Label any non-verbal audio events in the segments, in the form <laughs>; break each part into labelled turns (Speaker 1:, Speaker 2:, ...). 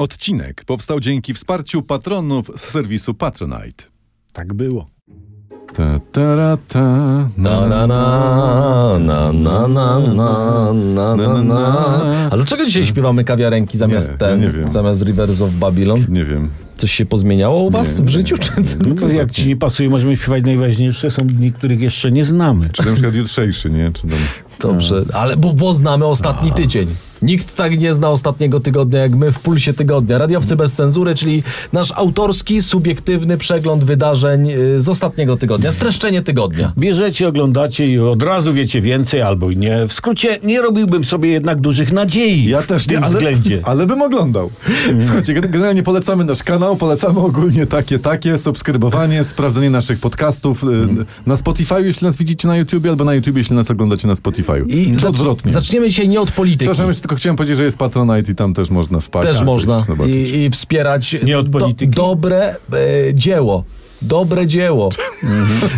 Speaker 1: Odcinek powstał dzięki wsparciu patronów z serwisu Patronite.
Speaker 2: Tak było.
Speaker 1: Ta, ta, ra, ta, na, na, na, na, na, na, na,
Speaker 3: na,
Speaker 1: na, na.
Speaker 3: A dlaczego dzisiaj śpiewamy kawiarenki zamiast
Speaker 1: Nie,
Speaker 3: ten,
Speaker 1: ja nie wiem.
Speaker 3: zamiast Rivers of Babylon?
Speaker 1: Nie wiem.
Speaker 3: Coś się pozmieniało u was
Speaker 1: Nie,
Speaker 3: w życiu?
Speaker 1: nie,
Speaker 3: Czy
Speaker 1: nie,
Speaker 3: co?
Speaker 1: nie.
Speaker 2: No to jak ci nie pasuje, możemy śpiewać najważniejsze. Są dni, których jeszcze nie znamy.
Speaker 1: Czy na przykład jutrzejszy, nie? Czy tam...
Speaker 3: Dobrze, ale bo, bo znamy ostatni tydzień. Nikt tak nie zna ostatniego tygodnia jak my w Pulsie Tygodnia. Radiowcy bez cenzury, czyli nasz autorski, subiektywny przegląd wydarzeń y, z ostatniego tygodnia, streszczenie tygodnia.
Speaker 2: Bierzecie, oglądacie i od razu wiecie więcej albo i nie. W skrócie, nie robiłbym sobie jednak dużych nadziei w tym
Speaker 1: ale,
Speaker 2: <laughs> względzie.
Speaker 1: Ale bym oglądał. Słuchajcie, gen- generalnie polecamy nasz kanał, polecamy ogólnie takie, takie, subskrybowanie, sprawdzenie naszych podcastów y, na Spotify, jeśli nas widzicie na YouTubie, albo na YouTube, jeśli nas oglądacie na Spotify. I
Speaker 3: zac-
Speaker 1: odwrotnie.
Speaker 3: Zaczniemy dzisiaj nie od polityki.
Speaker 1: Przepraszam, jeszcze tylko chciałem powiedzieć, że jest Patronite i tam też można wpaść.
Speaker 3: Też
Speaker 1: Tak,
Speaker 3: można
Speaker 1: zobaczyć.
Speaker 3: i, i wspierać e,
Speaker 2: Nie od polityki.
Speaker 3: dobre e, dzieło.
Speaker 1: <laughs>
Speaker 3: Dobre dzieło.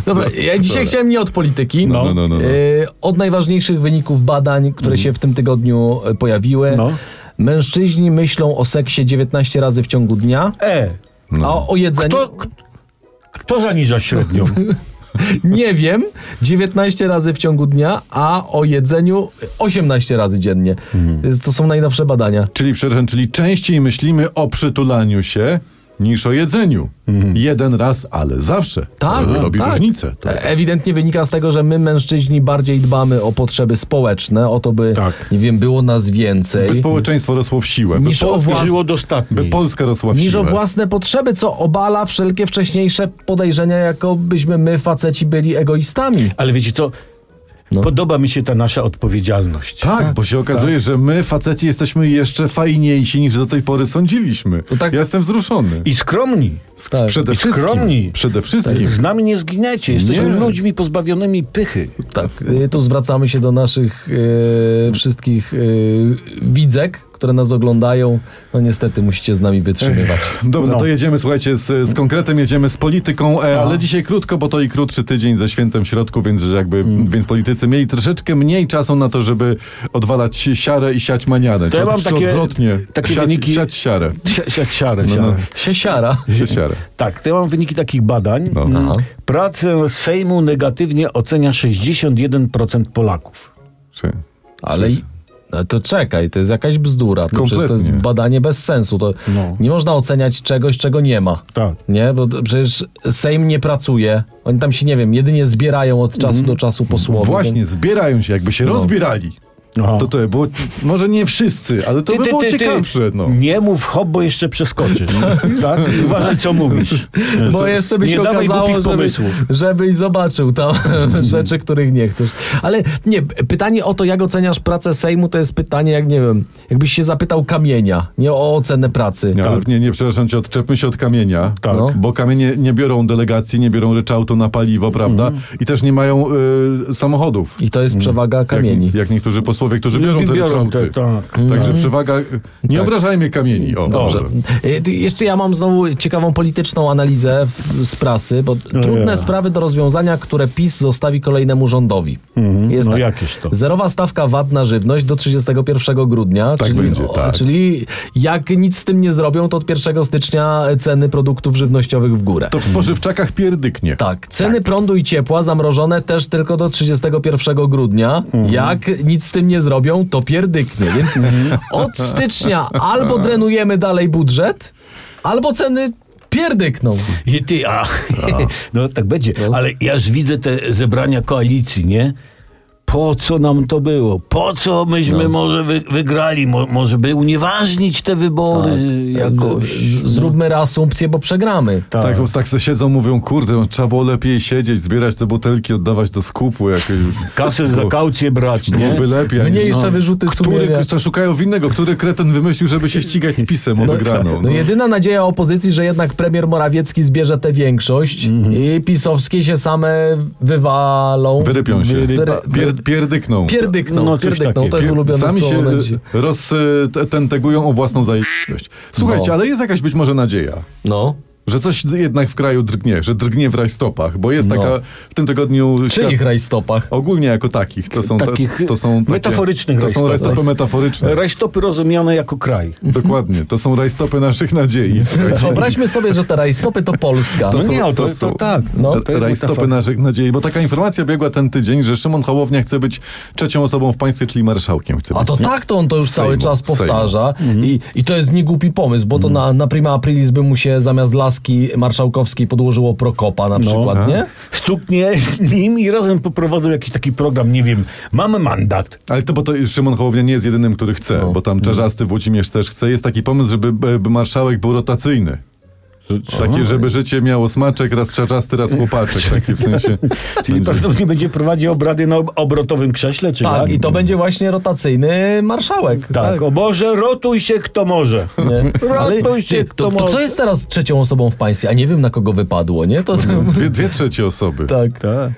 Speaker 3: Dobra, ja dzisiaj chciałem nie od polityki.
Speaker 1: Mhm. No, no, no, no, Mhm. no.
Speaker 3: E, od najważniejszych wyników badań, które się w tym tygodniu e, pojawiły.
Speaker 2: No.
Speaker 3: Mężczyźni myślą o seksie 19 razy w ciągu dnia,
Speaker 2: E,
Speaker 1: No.
Speaker 3: a o jedzeniu
Speaker 2: kto, k- kto zaniża średnią?
Speaker 3: nie wiem, 19 razy w ciągu dnia, a o jedzeniu 18 razy dziennie.
Speaker 1: Mhm.
Speaker 3: To są najnowsze badania.
Speaker 1: Czyli, przepraszam, czyli częściej myślimy o przytulaniu się niż o jedzeniu. Jeden raz, ale zawsze.
Speaker 3: Mhm. Tak,
Speaker 1: To robi
Speaker 3: tak.
Speaker 1: różnicę.
Speaker 3: E- Ewidentnie wynika z tego, że my mężczyźni bardziej dbamy o potrzeby społeczne, o to, by
Speaker 2: Tak.
Speaker 3: nie wiem, było nas
Speaker 1: By
Speaker 3: więcej.
Speaker 1: społeczeństwo rosło w siłę. By,
Speaker 3: Niż
Speaker 1: Pol-
Speaker 3: o
Speaker 2: Polska
Speaker 3: włas-
Speaker 2: żyło dostatnio.
Speaker 1: by Polska rosła w
Speaker 3: Niż
Speaker 1: siłę.
Speaker 3: o własne potrzeby, co obala wszelkie wcześniejsze podejrzenia, jakobyśmy my, faceci, byli egoistami.
Speaker 2: Ale wiecie co?
Speaker 3: No.
Speaker 2: Podoba mi się ta nasza odpowiedzialność.
Speaker 1: Tak, bo się okazuje, że my, faceci, jesteśmy jeszcze fajniejsi niż do tej pory sądziliśmy.
Speaker 3: To tak-
Speaker 1: Ja jestem wzruszony.
Speaker 2: I skromni.
Speaker 1: S-
Speaker 3: tak.
Speaker 1: Przede
Speaker 2: I
Speaker 1: wszystkim.
Speaker 2: skromni.
Speaker 1: Przede wszystkim.
Speaker 2: Z nami nie zginiecie. Jesteśmy
Speaker 1: Nie.
Speaker 2: ludźmi pozbawionymi pychy.
Speaker 3: Tak, y, tu zwracamy się do naszych y, wszystkich y, widzek, które nas oglądają. No niestety musicie z nami wytrzymywać.
Speaker 1: Dobra,
Speaker 2: No.
Speaker 1: to jedziemy, słuchajcie, z, z konkretem, jedziemy z polityką, e, ale dzisiaj krótko, bo to i krótszy tydzień ze świętem w środku, więc że jakby,
Speaker 2: Mm.
Speaker 1: więc politycy mieli troszeczkę mniej czasu na to, żeby odwalać siarę i siać manianę.
Speaker 2: To ja
Speaker 1: Czy-
Speaker 2: mam
Speaker 1: czy
Speaker 2: takie-
Speaker 1: odwrotnie,
Speaker 2: takie
Speaker 1: siać,
Speaker 2: wyniki-
Speaker 1: siać siarę.
Speaker 2: Si- si- Siarę,
Speaker 1: No, no.
Speaker 2: siarę.
Speaker 3: Siesiara.
Speaker 1: Siać siarę.
Speaker 2: Tak, to ja mam wyniki takich badań.
Speaker 1: No.
Speaker 2: Mm.
Speaker 3: Aha.
Speaker 2: Pracę Sejmu negatywnie ocenia 61% Polaków.
Speaker 1: Czy-
Speaker 3: Ale i- ale to czekaj, to jest jakaś bzdura. To, przecież to jest
Speaker 1: Kompletnie.
Speaker 3: badanie bez sensu. To
Speaker 2: No.
Speaker 3: Nie można oceniać czegoś, czego nie ma.
Speaker 2: Tak.
Speaker 3: Nie, bo to- przecież Sejm nie pracuje. Oni tam się, nie wiem, jedynie zbierają od
Speaker 2: Mhm.
Speaker 3: czasu do czasu posłowie.
Speaker 1: Właśnie,
Speaker 3: więc-
Speaker 1: zbierają się, jakby się rozbierali.
Speaker 2: No. Aha.
Speaker 1: To to było, może nie wszyscy, ale to by było ciekawsze. No.
Speaker 2: Nie mów hop, bo jeszcze
Speaker 1: <laughs>
Speaker 2: przeskoczysz. tak? Uważaj, co mówisz.
Speaker 3: Bo
Speaker 2: To-
Speaker 3: jeszcze by
Speaker 2: nie
Speaker 3: się
Speaker 2: dawaj
Speaker 3: okazało,
Speaker 2: głupich
Speaker 3: żeby,
Speaker 2: pomysłów. Mhm.
Speaker 3: żebyś
Speaker 2: <laughs>
Speaker 3: zobaczył tam rzeczy, których nie chcesz. Ale nie, pytanie o to, jak oceniasz pracę Sejmu, to jest pytanie, jak nie wiem, jakbyś się zapytał kamienia, nie o ocenę pracy.
Speaker 1: Nie, ale nie, nie, przepraszam cię, odczepmy się od kamienia,
Speaker 2: Tak.
Speaker 3: Tak. No.
Speaker 1: bo kamienie nie biorą delegacji, nie biorą ryczałtu na paliwo, prawda?
Speaker 2: Mhm.
Speaker 1: I też nie mają y, samochodów.
Speaker 3: I to jest przewaga kamieni. Mhm.
Speaker 1: Jak, jak niektórzy posłowie, którzy biorą te
Speaker 2: Biorą te-
Speaker 1: ryczałty.
Speaker 2: tak.
Speaker 1: Także przewaga... Nie obrażajmy kamieni. O,
Speaker 3: Dobrze.
Speaker 1: dobrze.
Speaker 3: Y, ty- Jeszcze ja mam znowu ciekawą polityczną analizę w- z prasy, bo trudne
Speaker 2: No ja.
Speaker 3: sprawy do rozwiązania, które PiS zostawi kolejnemu rządowi. Jest
Speaker 2: No jakież to?
Speaker 3: Zerowa stawka VAT na żywność do 31 grudnia.
Speaker 1: Tak
Speaker 3: czyli,
Speaker 1: będzie, tak.
Speaker 3: czyli jak nic z tym nie zrobią, to od 1 stycznia ceny produktów żywnościowych w górę.
Speaker 1: To w spożywczakach pierdyknie.
Speaker 3: Mhm. Tak, ceny prądu i ciepła zamrożone też tylko do 31 grudnia.
Speaker 1: Mhm.
Speaker 3: Jak nic z tym nie zrobią, to pierdyknie. Więc
Speaker 1: Mhm.
Speaker 3: od stycznia albo drenujemy dalej budżet, albo ceny pierdykną.
Speaker 2: I ty, a, <laughs> no tak będzie, ale ja już widzę te zebrania koalicji, nie? Po co nam to było? Po co myśmy
Speaker 3: No.
Speaker 2: może wy, wygrali? Mo, może by unieważnić te wybory
Speaker 3: Tak.
Speaker 2: jakoś?
Speaker 3: Z- Zróbmy reasumpcję, bo przegramy.
Speaker 1: Yy, Tak, tak, bo tak se siedzą, mówią, kurde, no, trzeba było lepiej siedzieć, zbierać te butelki, oddawać do skupu jakieś...
Speaker 2: Kasę za kaucję brać, nie?
Speaker 1: Byłoby lepiej.
Speaker 3: Mniejsze
Speaker 1: No.
Speaker 3: wyrzuty sumienia.
Speaker 1: Który, to szukają winnego, który kreten wymyślił, żeby się ścigać z pisem o wygraną.
Speaker 3: No
Speaker 1: No.
Speaker 3: jedyna nadzieja opozycji, że jednak premier Morawiecki zbierze tę większość
Speaker 1: Mhm.
Speaker 3: i pisowskie się same wywalą.
Speaker 1: Wyrypią się.
Speaker 3: Wyrypa-
Speaker 1: Pier, pierdykną.
Speaker 3: Pierdykną,
Speaker 2: No, coś
Speaker 3: pierdykną. To
Speaker 2: takiego.
Speaker 3: jest ulubione
Speaker 1: Sami
Speaker 3: słowo.
Speaker 1: się e,
Speaker 3: na dzisiaj.
Speaker 1: roz, te- ten tegują o własną zajętość. Słuchajcie,
Speaker 3: No.
Speaker 1: ale jest jakaś być może nadzieja,
Speaker 3: No.
Speaker 1: Że coś jednak w kraju drgnie, że drgnie w rajstopach, bo jest
Speaker 3: No.
Speaker 1: taka w tym tygodniu... świat-
Speaker 3: Czyli ich rajstopach.
Speaker 1: Ogólnie jako takich. To są,
Speaker 2: Takich
Speaker 1: ta, to są takie,
Speaker 2: metaforycznych
Speaker 1: To są
Speaker 2: rajstopów.
Speaker 1: rajstopy
Speaker 2: <laughs>
Speaker 1: metaforyczne.
Speaker 2: Rajstopy rozumiane jako kraj.
Speaker 1: Dokładnie. To są rajstopy naszych
Speaker 3: <laughs>
Speaker 1: nadziei. słuchajcie.
Speaker 3: Wyobraźmy sobie, że te rajstopy to Polska.
Speaker 2: No
Speaker 1: są-
Speaker 2: nie, o, to-
Speaker 1: są
Speaker 2: to tak,
Speaker 1: No,
Speaker 2: no, to jest
Speaker 1: rajstopy
Speaker 2: metafora.
Speaker 1: naszych nadziei. Bo taka informacja biegła ten tydzień, że Szymon Hołownia chce być trzecią osobą w państwie, czyli marszałkiem chce
Speaker 3: A
Speaker 1: być.
Speaker 3: to tak, to on to już
Speaker 1: Sejmu,
Speaker 3: cały czas
Speaker 1: Sejmu.
Speaker 3: powtarza. I, I to jest niegłupi pomysł, bo to na, na prima aprilis by mu się zamiast laski marszałkowskiej podłożyło Prokopa na przykład,
Speaker 1: tak.
Speaker 3: nie?
Speaker 2: Stuknie nim i razem poprowadzą jakiś taki program, nie wiem, mamy mandat.
Speaker 1: Ale to, bo to Szymon Hołownia nie jest jedynym, który chce,
Speaker 3: No.
Speaker 1: bo
Speaker 3: Mhm.
Speaker 1: tam Czerzasty Włodzimierz też chce. Jest taki pomysł, żeby b- b- marszałek był rotacyjny. Takie, żeby życie miało smaczek, raz czarzasty, raz chłopaczek, taki w
Speaker 3: <laughs>
Speaker 1: sensie.
Speaker 2: Czyli prawdopodobnie będzie prowadził obrady na ob- obrotowym krześle, czy
Speaker 3: Tak,
Speaker 2: jak?
Speaker 3: i to będzie właśnie rotacyjny marszałek.
Speaker 2: Tak, o Boże, rotuj się kto może.
Speaker 3: Nie.
Speaker 2: Rotuj się
Speaker 3: ty,
Speaker 2: kto
Speaker 3: to, to kto
Speaker 2: może.
Speaker 3: jest teraz trzecią osobą w państwie? A nie wiem na kogo wypadło, nie? To,
Speaker 1: Dwie, dwie trzecie osoby.
Speaker 3: tak.
Speaker 2: Tak.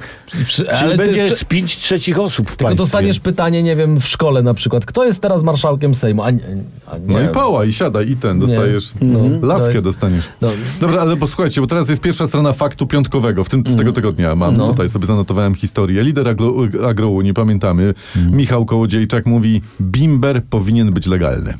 Speaker 3: Przy,
Speaker 2: Czyli
Speaker 3: ale ty,
Speaker 2: będzie
Speaker 3: ty,
Speaker 2: z pięć trzecich osób w
Speaker 3: tylko
Speaker 2: państwie.
Speaker 3: dostaniesz pytanie, nie wiem, w szkole na przykład, kto jest teraz marszałkiem Sejmu? A, nie- a nie.
Speaker 1: No i pała, i siada, i ten, dostajesz mhm.
Speaker 3: No.
Speaker 1: laskę
Speaker 3: Daj.
Speaker 1: dostaniesz.
Speaker 3: No.
Speaker 1: Dobra, ale posłuchajcie, bo teraz jest pierwsza strona faktu piątkowego, w tym z tego tygodnia mam
Speaker 3: Mhm. No.
Speaker 1: tutaj, sobie zanotowałem historię. Lider agro, agrołu, nie pamiętamy,
Speaker 3: Mhm.
Speaker 1: Michał Kołodziejczak mówi, bimber powinien być legalny.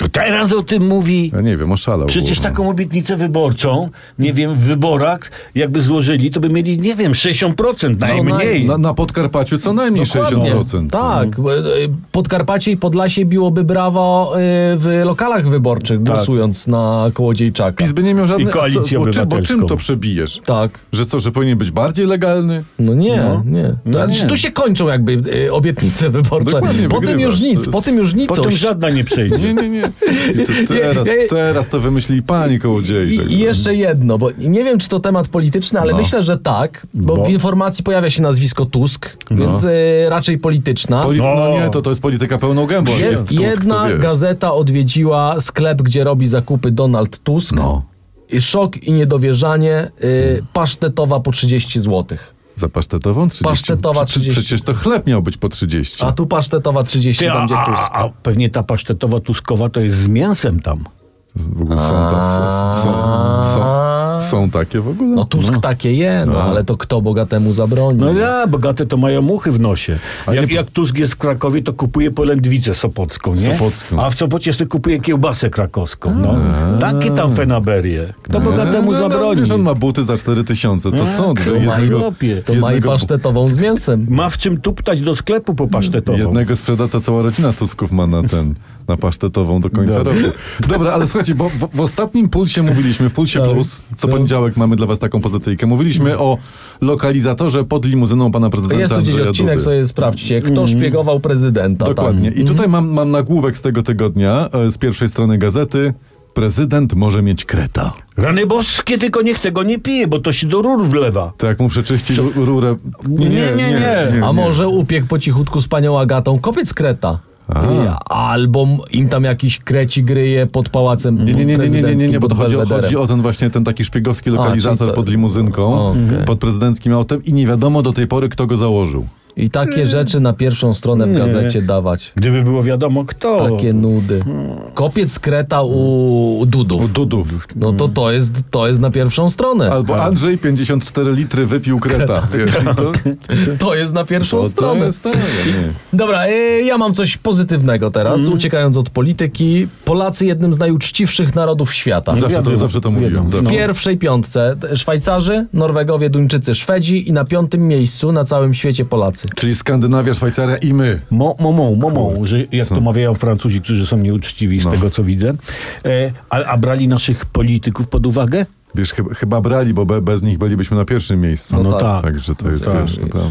Speaker 2: No Teraz o tym mówi.
Speaker 1: Ja nie wiem, oszalał.
Speaker 2: Przecież tak
Speaker 1: głową.
Speaker 2: taką obietnicę wyborczą, nie wiem, w wyborach jakby złożyli, to by mieli, nie wiem, 60%
Speaker 3: No,
Speaker 2: najmniej.
Speaker 1: Na, na Podkarpaciu co najmniej
Speaker 3: Dokładnie.
Speaker 1: 60%.
Speaker 3: Tak. bo, e, Podkarpacie i Podlasie biłoby brawo e, w lokalach wyborczych,
Speaker 1: Tak.
Speaker 3: głosując na Kołodziejczaka.
Speaker 1: PiS by nie miał żadnej...
Speaker 2: I koalicję
Speaker 1: a co- bo, czym- bo czym
Speaker 2: obywatelską.
Speaker 1: to przebijesz?
Speaker 3: Tak.
Speaker 1: Że co, że powinien być bardziej legalny?
Speaker 3: No nie, nie. To,
Speaker 2: No
Speaker 3: znaczy,
Speaker 2: nie.
Speaker 3: Tu się kończą jakby e, obietnice wyborcze.
Speaker 1: Dokładnie,
Speaker 3: Po tym
Speaker 1: wygrywasz.
Speaker 3: już
Speaker 1: To
Speaker 3: nic,
Speaker 1: jest-
Speaker 3: po tym już
Speaker 2: Potem
Speaker 3: nicość.
Speaker 2: żadna nie przejdzie.
Speaker 3: <laughs>
Speaker 1: Nie, nie, nie. I to
Speaker 3: Nie,
Speaker 1: teraz,
Speaker 3: nie.
Speaker 1: teraz to wymyśli pani Kołodziejczak.
Speaker 3: I, I jeszcze jedno, bo nie wiem, czy to temat polityczny,
Speaker 1: No.
Speaker 3: ale myślę, że tak, bo,
Speaker 2: Bo?
Speaker 3: w informacji pojawia się nazwisko Tusk, więc e, raczej polityczna.
Speaker 1: No. Poli- no
Speaker 2: No.
Speaker 1: nie, to, to jest polityka pełną gębą. jak
Speaker 3: Jed-
Speaker 1: jest Tusk,
Speaker 3: jedna
Speaker 1: to wiesz.
Speaker 3: gazeta odwiedziła sklep, gdzie robi zakupy Donald Tusk.
Speaker 1: No.
Speaker 3: I szok i niedowierzanie, y, pasztetowa po 30 zł.
Speaker 1: Za pasztetową 30.
Speaker 3: Pasztetowa
Speaker 1: Prze-
Speaker 3: 30.
Speaker 1: Przecież to chleb miał być po 30.
Speaker 3: A tu pasztetowa 30
Speaker 2: Ty, a,
Speaker 3: będzie Tusk.
Speaker 2: a, a pewnie ta pasztetowa tuskowa to jest z mięsem tam.
Speaker 1: W ogóle są, ta, są, są, są, są takie w ogóle?
Speaker 3: No Tusk takie je, no ale to kto bogatemu zabroni?
Speaker 2: No ja, bogate to mają muchy w nosie. Jak, jak Tusk jest w Krakowie, to kupuje polędwicę sopocką, nie?
Speaker 1: Sopocką.
Speaker 2: A w Sopocie jeszcze kupuje kiełbasę krakowską. No. Takie tam fenaberie. Kto bogatemu
Speaker 1: No, no,
Speaker 2: zabroni?
Speaker 1: Wiesz, on ma buty za 4000, to
Speaker 3: Mm,
Speaker 1: co? on do
Speaker 2: ma i
Speaker 1: jednego,
Speaker 2: łapie.
Speaker 3: to ma i
Speaker 1: jednego-
Speaker 3: pasztetową z mięsem.
Speaker 2: Ma w czym tuptać do sklepu po pasztetową.
Speaker 1: Jednego sprzeda to cała rodzina Tusków ma na ten, na pasztetową do końca
Speaker 2: Dobra.
Speaker 1: roku. Dobra, ale słuchajcie, bo w, w ostatnim pulsie mówiliśmy, w Pulsie
Speaker 3: Tak.
Speaker 1: Plus, co poniedziałek mamy dla was taką pozycyjkę, mówiliśmy o lokalizatorze pod limuzyną pana prezydenta
Speaker 3: Mm. Jest tu gdzieś
Speaker 1: Andrzeja
Speaker 3: odcinek,
Speaker 1: Dudy.
Speaker 3: sobie sprawdźcie, kto szpiegował prezydenta. tam.
Speaker 1: Mm. Dokładnie. I tutaj mam, mam nagłówek z tego tygodnia, e, z pierwszej strony gazety. Prezydent może mieć kreta.
Speaker 2: Rany boskie, tylko niech tego nie pije, bo to się do rur wlewa.
Speaker 1: To jak mu przeczyści ru- rurę...
Speaker 2: Nie, nie, nie.
Speaker 3: A może upiekł po cichutku z panią Agatą kopiec kreta. Ja, albo m- im tam jakiś kreci gryje pod pałacem
Speaker 1: Nie, nie, nie, nie, nie, nie, nie, nie, bo to chodzi, o-
Speaker 3: prezydenckim, pod
Speaker 1: chodzi o ten właśnie ten taki szpiegowski lokalizator
Speaker 3: czyli to-
Speaker 1: pod limuzynką, Mhm.
Speaker 3: Okej.
Speaker 1: pod prezydenckim autem i nie wiadomo do tej pory, kto go założył.
Speaker 3: I takie rzeczy na pierwszą stronę w gazecie dawać.
Speaker 2: Gdyby było wiadomo kto.
Speaker 3: Takie nudy. Kopiec kreta u, u
Speaker 1: U
Speaker 3: Dudów.
Speaker 1: Dudów.
Speaker 3: No to to jest, to jest na pierwszą stronę.
Speaker 1: Albo Andrzej 54 litry wypił kreta. Wiesz, i to,
Speaker 3: To jest na pierwszą
Speaker 1: to, to
Speaker 3: stronę.
Speaker 1: jest tak, nie.
Speaker 3: Dobra, y, ja mam coś pozytywnego teraz, uciekając od polityki. Polacy jednym z najuczciwszych narodów świata.
Speaker 1: Zawsze to,
Speaker 2: wiadomo,
Speaker 1: zawsze to mówiłem.
Speaker 2: wiadomo.
Speaker 1: Zawsze.
Speaker 3: W pierwszej piątce t- Szwajcarzy, Norwegowie, Duńczycy, Szwedzi i na piątym miejscu na całym świecie Polacy.
Speaker 1: Czyli Skandynawia, Szwajcaria i my.
Speaker 2: Mo, momą, momą, że jak
Speaker 1: Co? No.
Speaker 2: to mawiają Francuzi, którzy są nieuczciwi z tego, co widzę. E, a, a brali naszych polityków pod uwagę?
Speaker 1: Wiesz, chyba, chyba brali, bo be, bez nich bylibyśmy na pierwszym miejscu.
Speaker 3: No No tak. tak.
Speaker 1: Także to jest,
Speaker 2: tak.
Speaker 1: wiesz, naprawdę.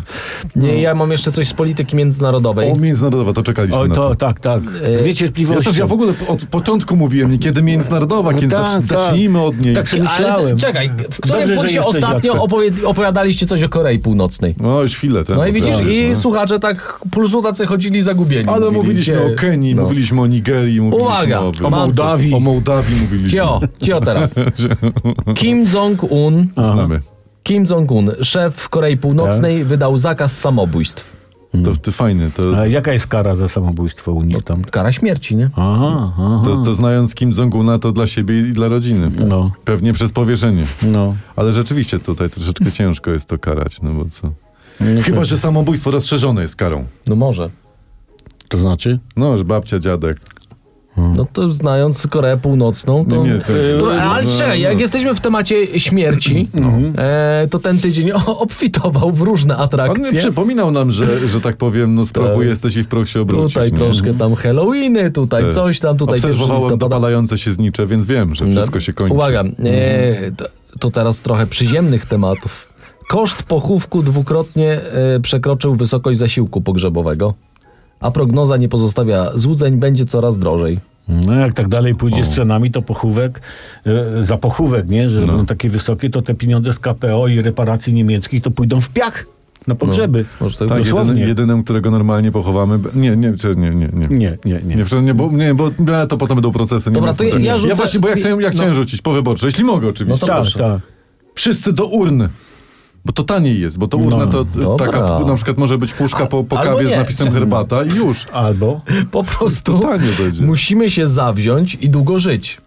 Speaker 3: Nie, ja mam jeszcze coś z polityki międzynarodowej.
Speaker 1: O, międzynarodowa, to czekaliśmy
Speaker 2: O,
Speaker 1: na to.
Speaker 2: to, tak, tak.
Speaker 3: E,
Speaker 2: Z
Speaker 1: Ja,
Speaker 2: niecierpliwością.
Speaker 1: też, ja w ogóle od początku mówiłem, niekiedy międzynarodowa,
Speaker 2: No
Speaker 1: kiedy
Speaker 2: tak,
Speaker 1: zacz,
Speaker 2: tak.
Speaker 1: zacznijmy od niej.
Speaker 2: Tak sobie
Speaker 3: Ale
Speaker 2: myślałem.
Speaker 3: czekaj, w którym
Speaker 2: Dobrze, że
Speaker 3: punkcie
Speaker 2: jesteś,
Speaker 3: ostatnio
Speaker 2: Jacku.
Speaker 3: opowie- opowiadaliście coś o Korei Północnej?
Speaker 1: No już chwilę. ten
Speaker 3: No i widzisz,
Speaker 1: pokazujesz,
Speaker 3: i
Speaker 1: no.
Speaker 3: słuchacze tak pulsu tacy chodzili zagubieni.
Speaker 1: Ale mówiliśmy
Speaker 3: gdzie-
Speaker 1: o Kenii,
Speaker 3: no.
Speaker 1: mówiliśmy o Nigerii, mówiliśmy
Speaker 3: Uwaga,
Speaker 1: o,
Speaker 3: mam-
Speaker 1: Mołdawii. O Mołdawii mówiliśmy.
Speaker 3: Cio, cio teraz. Kim Jong-un,
Speaker 1: <laughs> Znamy. Tak.
Speaker 3: Kim Jong-un, szef Korei Północnej, wydał zakaz samobójstw.
Speaker 1: To, to fajne. To,
Speaker 2: A jaka jest kara za samobójstwo u nich tam?
Speaker 3: Kara śmierci, nie?
Speaker 2: Aha, aha.
Speaker 1: to, to znając Kim Jong-una, to dla siebie i dla rodziny.
Speaker 2: No.
Speaker 1: Pewnie przez powierzenie.
Speaker 2: No.
Speaker 1: Ale rzeczywiście tutaj troszeczkę ciężko jest to karać, no bo co? Chyba, że samobójstwo rozszerzone jest karą.
Speaker 3: No może.
Speaker 2: To znaczy?
Speaker 1: No, że babcia, dziadek.
Speaker 3: No to znając Koreę Północną, to...
Speaker 1: Nie, nie, to-
Speaker 3: No, ale czekaj, jak jesteśmy w temacie śmierci,
Speaker 1: No.
Speaker 3: e, to ten tydzień <laughs> o- obfitował w różne
Speaker 1: Pan nie
Speaker 3: atrakcje.
Speaker 1: przypominał nam, że, że tak powiem, no z prochu
Speaker 3: Tak.
Speaker 1: jesteś i w proch się obrócisz.
Speaker 3: Tutaj
Speaker 1: nie?
Speaker 3: troszkę tam Halloweeny, tutaj
Speaker 1: Tak.
Speaker 3: coś tam, tutaj pierwszy
Speaker 1: Obserwowałem
Speaker 3: listopada.
Speaker 1: dopalające się znicze, więc wiem, że wszystko się kończy. Tak, Mhm.
Speaker 3: Uwaga, e, to, to teraz trochę przyziemnych tematów. Koszt pochówku dwukrotnie e, przekroczył wysokość zasiłku pogrzebowego, a prognoza nie pozostawia złudzeń, będzie coraz drożej.
Speaker 2: No jak tak dalej pójdzie z cenami, to pochówek, e, za pochówek, nie,
Speaker 1: No.
Speaker 2: że będą takie wysokie, to te pieniądze z KPO i reparacji niemieckich to pójdą w piach na pogrzeby.
Speaker 3: może tak
Speaker 1: Tak, jedyny,
Speaker 2: Dosłownie.
Speaker 1: jedynym, którego normalnie pochowamy. b- Nie, nie, czy- nie, nie. nie.
Speaker 2: Nie, nie, nie.
Speaker 1: Nie, prze- nie, bo, nie, bo nie, to potem będą procesy. Nie
Speaker 3: Dobra,
Speaker 1: ma
Speaker 3: to ja-
Speaker 1: problemu.
Speaker 3: ja rzucę-
Speaker 1: właśnie, bo ja chciałem, ja chciałem rzucić po wyborcze, jeśli mogę
Speaker 3: No
Speaker 1: oczywiście.
Speaker 3: to
Speaker 2: tak,
Speaker 3: proszę.
Speaker 2: tak.
Speaker 1: Wszyscy do urn. Bo to taniej jest, bo to urna
Speaker 2: No,
Speaker 1: to e,
Speaker 3: dobra.
Speaker 1: taka p- na przykład może być puszka po, po
Speaker 3: albo
Speaker 1: kawie z
Speaker 3: nie.
Speaker 1: napisem herbata i już.
Speaker 2: Albo
Speaker 3: Po prostu
Speaker 1: To tanie będzie.
Speaker 3: musimy się zawziąć i długo żyć.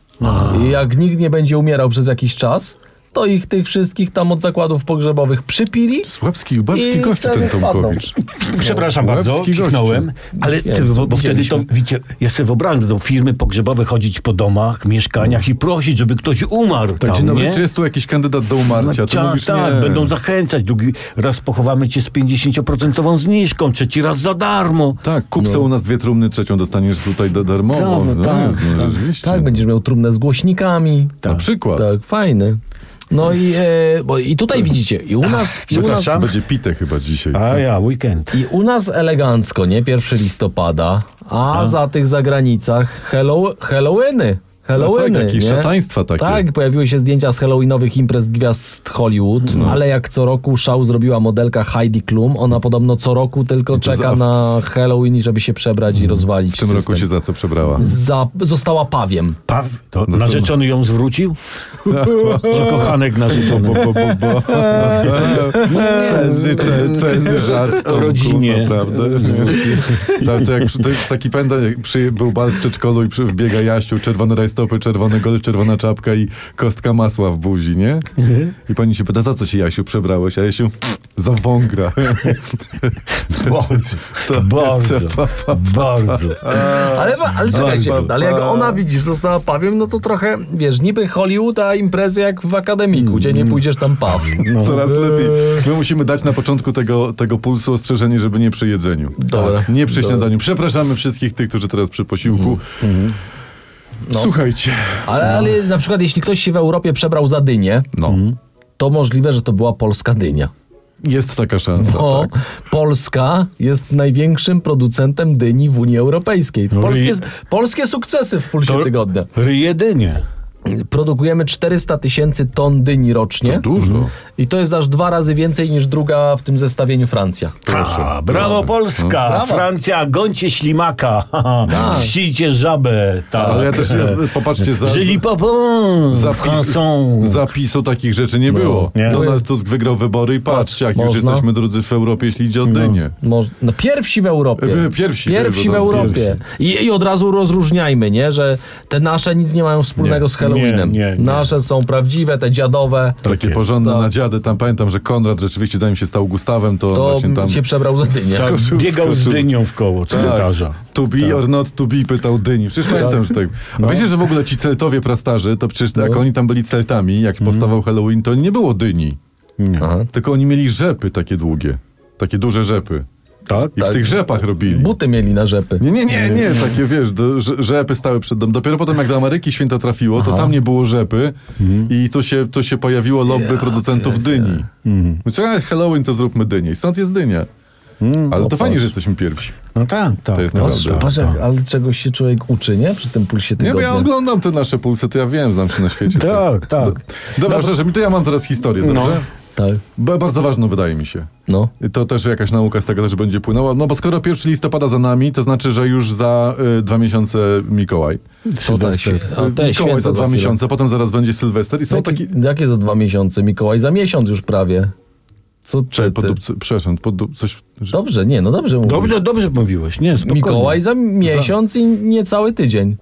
Speaker 3: I jak nikt nie będzie umierał przez jakiś czas, to ich tych wszystkich tam od zakładów pogrzebowych przypili.
Speaker 1: Słabski, babski
Speaker 3: I
Speaker 1: gość
Speaker 3: ceny
Speaker 1: ten
Speaker 3: spadną.
Speaker 1: Tomkowicz.
Speaker 2: Przepraszam bardzo,
Speaker 1: Łebski
Speaker 2: kichnąłem, ale ty,
Speaker 3: Jezu,
Speaker 2: bo, bo wtedy to, wiecie, ja sobie wyobrażam, będą firmy pogrzebowe chodzić po domach, mieszkaniach i prosić, żeby ktoś umarł
Speaker 1: Tak,
Speaker 2: tam,
Speaker 1: dzień dobry,
Speaker 2: nie?
Speaker 1: czy jest tu jakiś kandydat do umarcia? Ty
Speaker 2: Ta,
Speaker 1: mówisz,
Speaker 2: tak,
Speaker 1: nie.
Speaker 2: będą zachęcać, drugi raz pochowamy cię z 50% zniżką, trzeci raz za darmo.
Speaker 1: Tak, kup se u nas dwie trumny, trzecią dostaniesz tutaj da- darmowo.
Speaker 2: Brawo,
Speaker 1: No,
Speaker 2: No. tak,
Speaker 1: jest, no,
Speaker 2: tak.
Speaker 1: rzeczywiście.
Speaker 3: Tak, będziesz miał trumnę z głośnikami.
Speaker 1: Na przykład.
Speaker 3: Tak, fajny. No i, e, bo i
Speaker 1: Tak.
Speaker 3: tutaj widzicie, i u nas, i u nas,
Speaker 2: przepraszam.
Speaker 1: Będzie pite chyba dzisiaj.
Speaker 2: A ja, weekend.
Speaker 3: i u nas elegancko, nie? 1 listopada, a,
Speaker 1: No.
Speaker 3: za tych zagranicach Hello, Halloweeny. Halloweeny,
Speaker 1: No tak, jakieś
Speaker 3: nie?
Speaker 1: szataństwa takie.
Speaker 3: Tak, pojawiły się zdjęcia z Halloweenowych imprez gwiazd Hollywood,
Speaker 1: No.
Speaker 3: ale jak co roku szał zrobiła modelka Heidi Klum. Ona podobno co roku tylko
Speaker 1: To za- Mm.
Speaker 3: czeka na Halloween, żeby się przebrać i rozwalić
Speaker 1: W tym
Speaker 3: system.
Speaker 1: roku się za co przebrała.
Speaker 3: Za, została pawiem.
Speaker 2: Paw,
Speaker 1: No
Speaker 2: to narzeczony ją zwrócił? Czy kochanek narzeczony?
Speaker 1: Bo, bo, bo. Celny, ce-
Speaker 3: <laughs>
Speaker 1: celny żart. Tomku,
Speaker 2: Rodzinie.
Speaker 1: Naprawdę. Tak, to jak przy- to jest taki pęda, jak przy, był bal w przedszkolu i przy, wbiega Jaściu, czerwone rajstopy, czerwony gol, czerwona czapka i kostka masła w buzi, nie? I pani się pyta, za co się Jasiu przebrałeś? A Jasiu, za wągra.
Speaker 2: Bardzo, bardzo, bardzo.
Speaker 3: Ale, ale czekajcie,
Speaker 1: bardzo.
Speaker 3: ale jak ona, widzisz, została pawiem, no to trochę, wiesz, niby Hollywood, a imprezy jak w akademiku, gdzie nie pójdziesz tam paw.
Speaker 1: Coraz lepiej. My musimy dać na początku tego, tego pulsu ostrzeżenie, żeby nie przy jedzeniu. Tak,
Speaker 3: Dobra.
Speaker 1: Nie przy
Speaker 3: Dobra. Mhm.
Speaker 1: śniadaniu. Przepraszamy wszystkich tych, którzy teraz przy posiłku.
Speaker 3: No.
Speaker 1: Słuchajcie.
Speaker 3: Ale, ale na przykład, jeśli ktoś się w Europie przebrał za dynię,
Speaker 1: No.
Speaker 3: to możliwe, że to była polska dynia.
Speaker 1: Jest taka szansa.
Speaker 3: Bo
Speaker 1: Tak.
Speaker 3: Polska jest największym producentem dyni w Unii Europejskiej.
Speaker 1: No
Speaker 3: Polskie,
Speaker 2: i-
Speaker 3: polskie sukcesy w pulsie tygodnia.
Speaker 2: Ry jedynie.
Speaker 3: Produkujemy 400 tysięcy ton dyni rocznie.
Speaker 2: Mhm.
Speaker 1: Dużo.
Speaker 3: I to jest aż dwa razy więcej niż druga w tym zestawieniu Francja.
Speaker 1: Proszę.
Speaker 2: Ha, brawo
Speaker 3: No,
Speaker 2: Polska, Francja, gońcie ślimaka,
Speaker 3: Tak.
Speaker 2: ścicie żabę, tak.
Speaker 1: Ale ja też, ja, popatrzcie, za,
Speaker 2: Żyli po
Speaker 1: za-
Speaker 2: za Francą.
Speaker 1: zapisu takich rzeczy nie było.
Speaker 2: No.
Speaker 1: No,
Speaker 2: Nie. Tak,
Speaker 1: Donald Tusk wygrał wybory i patrzcie, jak już
Speaker 3: można.
Speaker 1: jesteśmy drudzy w Europie, jeśli idzie o Dynię.
Speaker 3: Moż- No, pierwsi w Europie.
Speaker 1: E, pierwsi,
Speaker 3: pierwsi w
Speaker 1: wiadomo,
Speaker 3: Europie. I, I od razu rozróżniajmy, nie? Że te nasze nic nie mają wspólnego
Speaker 1: Nie,
Speaker 3: z Halloweenem.
Speaker 2: nie, nie, nie.
Speaker 3: Nasze są prawdziwe, te dziadowe.
Speaker 1: Takie porządne nadziady. Tam pamiętam, że Konrad rzeczywiście, zanim się stał Gustawem, to,
Speaker 3: To
Speaker 1: właśnie tam...
Speaker 3: się przebrał za dynię.
Speaker 2: Tak,
Speaker 1: Skoczył,
Speaker 2: biegał z
Speaker 1: skoczył. Tak.
Speaker 2: dynią w koło cmentarza. Tak.
Speaker 1: To be or not to be, pytał Dyni. Przecież pamiętam, że tak. A
Speaker 2: No.
Speaker 1: wiecie, że w ogóle ci Celtowie prastarzy, to przecież jak oni tam byli Celtami,
Speaker 2: Mhm.
Speaker 1: jak powstawał Halloween, to nie było Dyni.
Speaker 3: Aha.
Speaker 1: Tylko oni mieli rzepy takie długie. Takie duże rzepy.
Speaker 2: Tak?
Speaker 1: I w tych rzepach robili.
Speaker 3: Buty mieli na rzepy.
Speaker 1: Nie, nie, nie, nie, takie wiesz, do, że- rzepy stały przed domem. Dopiero potem, jak do Ameryki święto trafiło, to tam nie było rzepy i tu się, tu się pojawiło lobby producentów dyni. Mówię, a Halloween to zróbmy dynię. I stąd jest dynia. Ale to fajnie, że jesteśmy pierwsi.
Speaker 2: No tak, tak.
Speaker 1: To jest
Speaker 2: tak,
Speaker 1: naprawdę.
Speaker 2: tak,
Speaker 3: Boże,
Speaker 2: tak.
Speaker 3: ale czegoś się człowiek uczy, nie? Przy tym pulsie
Speaker 1: Nie, bo
Speaker 3: tygodnia.
Speaker 1: ja oglądam te nasze pulsy, to ja wiem, znam się na świecie.
Speaker 2: Tak, tak.
Speaker 1: Dobra, No. szczerze, mi to ja mam teraz historię, dobrze?
Speaker 3: Tak,
Speaker 1: Ba- Bardzo ważną wydaje mi się.
Speaker 3: no.
Speaker 1: To też jakaś nauka z tego też będzie płynęła. No bo skoro 1 listopada za nami, to znaczy, że już za y, dwa miesiące Mikołaj.
Speaker 3: To te, świe- a E, te
Speaker 1: Mikołaj za
Speaker 3: święta za
Speaker 1: dwa No,
Speaker 3: chwilę.
Speaker 1: miesiące, potem zaraz będzie Sylwester i są
Speaker 3: Jakie,
Speaker 1: takie...
Speaker 3: jakie za dwa miesiące? Mikołaj za miesiąc już prawie. Co ty,
Speaker 1: Czy
Speaker 3: ty?
Speaker 1: podupcy, przepraszam, podup, coś... Że,
Speaker 3: Dobrze, nie, no dobrze mówisz.
Speaker 2: Dobrze, dobrze mówiłeś, nie, spokojnie.
Speaker 3: Mikołaj za miesiąc i niecały tydzień.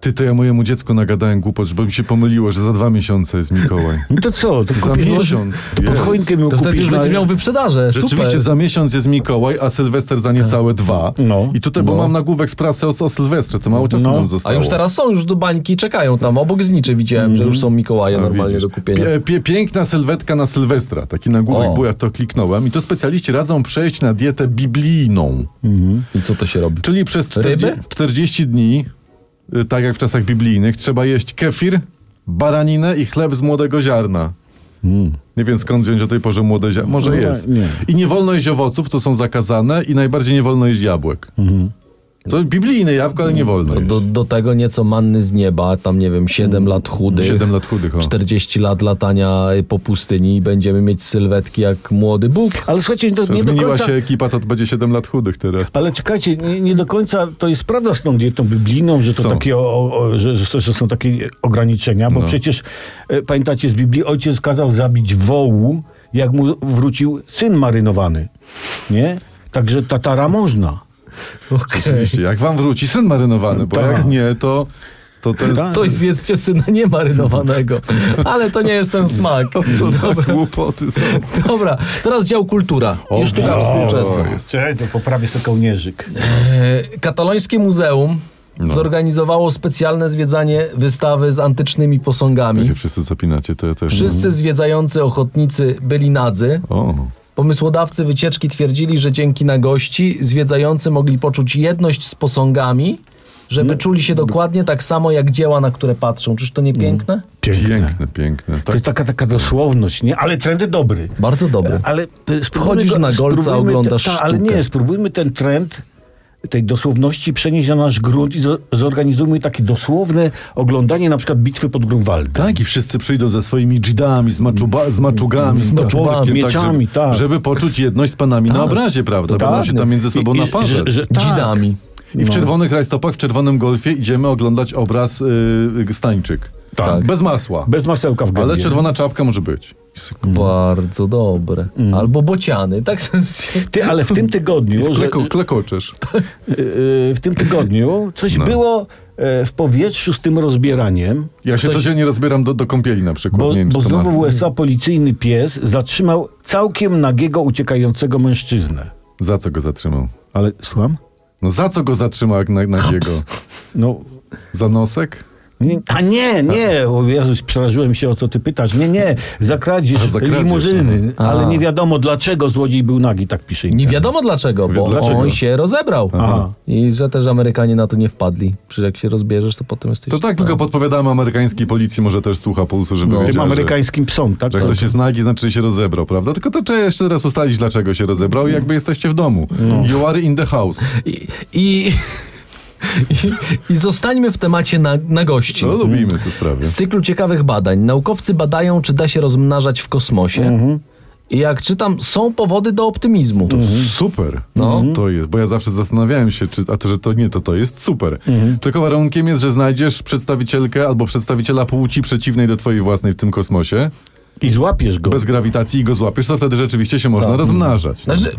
Speaker 1: ty, to ja mojemu dziecku nagadałem głupot, bo mi się pomyliło, że za dwa miesiące jest Mikołaj.
Speaker 2: No to co, to
Speaker 1: Za
Speaker 2: kupisz,
Speaker 1: miesiąc,
Speaker 2: To
Speaker 1: jest.
Speaker 2: pod choinkę mi
Speaker 3: To wtedy
Speaker 2: kupisz no
Speaker 3: już
Speaker 2: na...
Speaker 3: będziesz miał wyprzedaże,
Speaker 1: No, Rzeczywiście
Speaker 3: <laughs> super. Tak.
Speaker 1: za miesiąc jest Mikołaj, a Sylwester za niecałe dwa.
Speaker 2: No.
Speaker 1: I tutaj, bo
Speaker 2: No.
Speaker 1: mam nagłówek z prasy o, o Sylwestrze, to mało czasu
Speaker 2: No.
Speaker 1: nam
Speaker 3: A
Speaker 1: zostało.
Speaker 3: już teraz są, już do bańki czekają tam, obok zniczy widziałem, że już są Mikołaje normalnie
Speaker 1: No, Widzisz.
Speaker 3: do kupienia.
Speaker 1: Pie- pie- piękna sylwetka na Sylwestra. Taki nagłówek
Speaker 3: O.
Speaker 1: był, jak to kliknąłem. I to specjaliści radzą przejść na dietę biblijną.
Speaker 3: I co to się robi?
Speaker 1: Czyli przez 40,
Speaker 3: Ryby?
Speaker 1: 40 dni, y, tak jak w czasach biblijnych, trzeba jeść kefir, baraninę i chleb z młodego ziarna. Nie wiem skąd wziąć o tej porze młode ziarno. Może
Speaker 2: Hmm. No,
Speaker 1: jest.
Speaker 2: nie.
Speaker 1: I nie wolno jeść owoców, to są zakazane i najbardziej nie wolno jeść jabłek.
Speaker 2: Mhm.
Speaker 1: To biblijne jabłko, ale nie
Speaker 2: No,
Speaker 1: wolno jeść.
Speaker 3: Do, do tego nieco manny z nieba, tam nie wiem, 7 lat chudych.
Speaker 1: 7 lat chudych. O.
Speaker 3: 40 lat latania po pustyni i będziemy mieć sylwetki jak młody Bóg.
Speaker 2: Ale słuchajcie, to nie do
Speaker 1: Zmieniła
Speaker 2: końca...
Speaker 1: się ekipa, to będzie 7 lat chudych teraz.
Speaker 2: Ale czekajcie, nie, nie do końca to jest prawda z tą dietą biblijną, że to
Speaker 1: Są.
Speaker 2: takie, o, o- o, że, że, że są takie ograniczenia,
Speaker 1: No.
Speaker 2: bo przecież e, pamiętacie z Biblii, ojciec kazał zabić wołu, jak mu wrócił syn marynowany. Nie? Także tatara można.
Speaker 1: Oczywiście, jak wam wróci syn marynowany, bo
Speaker 2: Tak.
Speaker 1: jak nie, to, to ten...
Speaker 2: Tak.
Speaker 3: Ktoś zjedzcie syna niemarynowanego. Ale to nie jest ten smak.
Speaker 1: To
Speaker 2: <laughs>
Speaker 1: za głupoty są.
Speaker 3: Dobra, teraz dział kultura.
Speaker 1: O,
Speaker 3: Już taka
Speaker 1: o,
Speaker 3: współczesna.
Speaker 1: jest.
Speaker 2: Cześć, to poprawię sobie kołnierzyk.
Speaker 3: E, Katalońskie muzeum
Speaker 1: No.
Speaker 3: zorganizowało specjalne zwiedzanie wystawy z antycznymi posągami.
Speaker 1: Się wszyscy zapinacie, to ja też...
Speaker 3: Wszyscy zwiedzający ochotnicy byli nadzy.
Speaker 1: O,
Speaker 3: Pomysłodawcy wycieczki twierdzili, że dzięki nagości zwiedzający mogli poczuć jedność z posągami, żeby
Speaker 1: No,
Speaker 3: czuli się dokładnie tak samo jak dzieła, na które patrzą. Czyż to
Speaker 1: No.
Speaker 3: nie piękne?
Speaker 2: Piękne.
Speaker 1: piękne, piękne.
Speaker 2: To
Speaker 1: Tak,
Speaker 2: jest taka, taka dosłowność, nie? Ale trendy dobry.
Speaker 3: Bardzo dobre.
Speaker 2: Ale p- spróbujmy
Speaker 3: Chodzisz
Speaker 2: go-
Speaker 3: na golca,
Speaker 2: spróbujmy
Speaker 3: oglądasz
Speaker 2: ta, Ale
Speaker 3: sztukę.
Speaker 2: nie, spróbujmy ten trend tej dosłowności przenieść na nasz grunt i zo- zorganizujmy takie dosłowne oglądanie na przykład bitwy pod Grunwaldem.
Speaker 1: tak, i wszyscy przyjdą ze swoimi dzidami, z, maczuba, z maczugami, z toporkiem.
Speaker 2: mieczami,
Speaker 1: żeby,
Speaker 2: tak.
Speaker 1: żeby poczuć jedność z panami na obrazie, prawda? Będą się tam między sobą
Speaker 2: I- i-
Speaker 1: naparzać.
Speaker 2: że- że no. tak.
Speaker 3: Dzidami.
Speaker 1: I w czerwonych rajstopach, w czerwonym golfie idziemy oglądać obraz yy, Stańczyk.
Speaker 2: Tak.
Speaker 1: Bez masła.
Speaker 2: Bez masełka w gębie.
Speaker 1: Ale czerwona czapka może być.
Speaker 3: Bardzo dobre.
Speaker 1: Mm.
Speaker 3: Albo bociany. Tak <laughs>
Speaker 2: Ty, ale w tym tygodniu, że,
Speaker 1: Kleko, klekoczesz.
Speaker 2: y, y, w tym tygodniu coś
Speaker 1: No.
Speaker 2: było e, w powietrzu z tym rozbieraniem.
Speaker 1: Ja się codziennie rozbieram do, do kąpieli na przykład.
Speaker 2: Bo,
Speaker 1: nie wiem,
Speaker 2: bo
Speaker 1: czy to
Speaker 2: znowu
Speaker 1: ma-
Speaker 2: w USA policyjny pies zatrzymał całkiem nagiego uciekającego mężczyznę.
Speaker 1: Za co go zatrzymał?
Speaker 2: Ale słucham?
Speaker 1: No za co go zatrzymał jak na, na jego?
Speaker 2: No.
Speaker 1: Za nosek?
Speaker 2: Nie, a nie,
Speaker 1: Tak.
Speaker 2: nie, o Jezus, przeraziłem się o co ty pytasz. Nie, nie, za
Speaker 1: <laughs>
Speaker 2: kradzież
Speaker 1: A, no. za kradzież,
Speaker 2: limuzyny.
Speaker 3: aha.
Speaker 2: Ale
Speaker 3: A.
Speaker 2: nie wiadomo dlaczego złodziej był nagi, tak pisze
Speaker 3: Nie
Speaker 2: Inka.
Speaker 3: wiadomo dlaczego, bo
Speaker 1: Dlaczego?
Speaker 3: on się rozebrał. Mm.
Speaker 2: Aha.
Speaker 3: I że też Amerykanie na to nie wpadli. Przecież jak się rozbierzesz, to potem jesteś...
Speaker 1: To tak tylko podpowiadamy amerykańskiej policji, może też słucha pulsu, żeby
Speaker 3: No.
Speaker 1: wiedział,
Speaker 2: Tym
Speaker 1: że,
Speaker 2: amerykańskim psom, tak?
Speaker 1: że ktoś jest nagi, znaczy się rozebrał, prawda? Tylko to trzeba jeszcze teraz ustalić, dlaczego się rozebrał i jakby jesteście w domu. You are in the house.
Speaker 3: I, i, <laughs> i, I zostańmy w temacie na, na gości.
Speaker 1: No lubimy te sprawy.
Speaker 3: Z cyklu ciekawych badań. Naukowcy badają, czy da się rozmnażać w kosmosie. I jak czytam, są powody do optymizmu.
Speaker 2: Mhm.
Speaker 1: Super.
Speaker 3: No.
Speaker 1: To jest, bo ja zawsze zastanawiałem się, czy, a to, że to nie, to to jest super. Tylko warunkiem jest, że znajdziesz przedstawicielkę albo przedstawiciela płci przeciwnej do twojej własnej w tym kosmosie,
Speaker 2: I złapiesz go.
Speaker 1: bez grawitacji i go złapiesz, to wtedy rzeczywiście się można rozmnażać.
Speaker 3: Znaczy,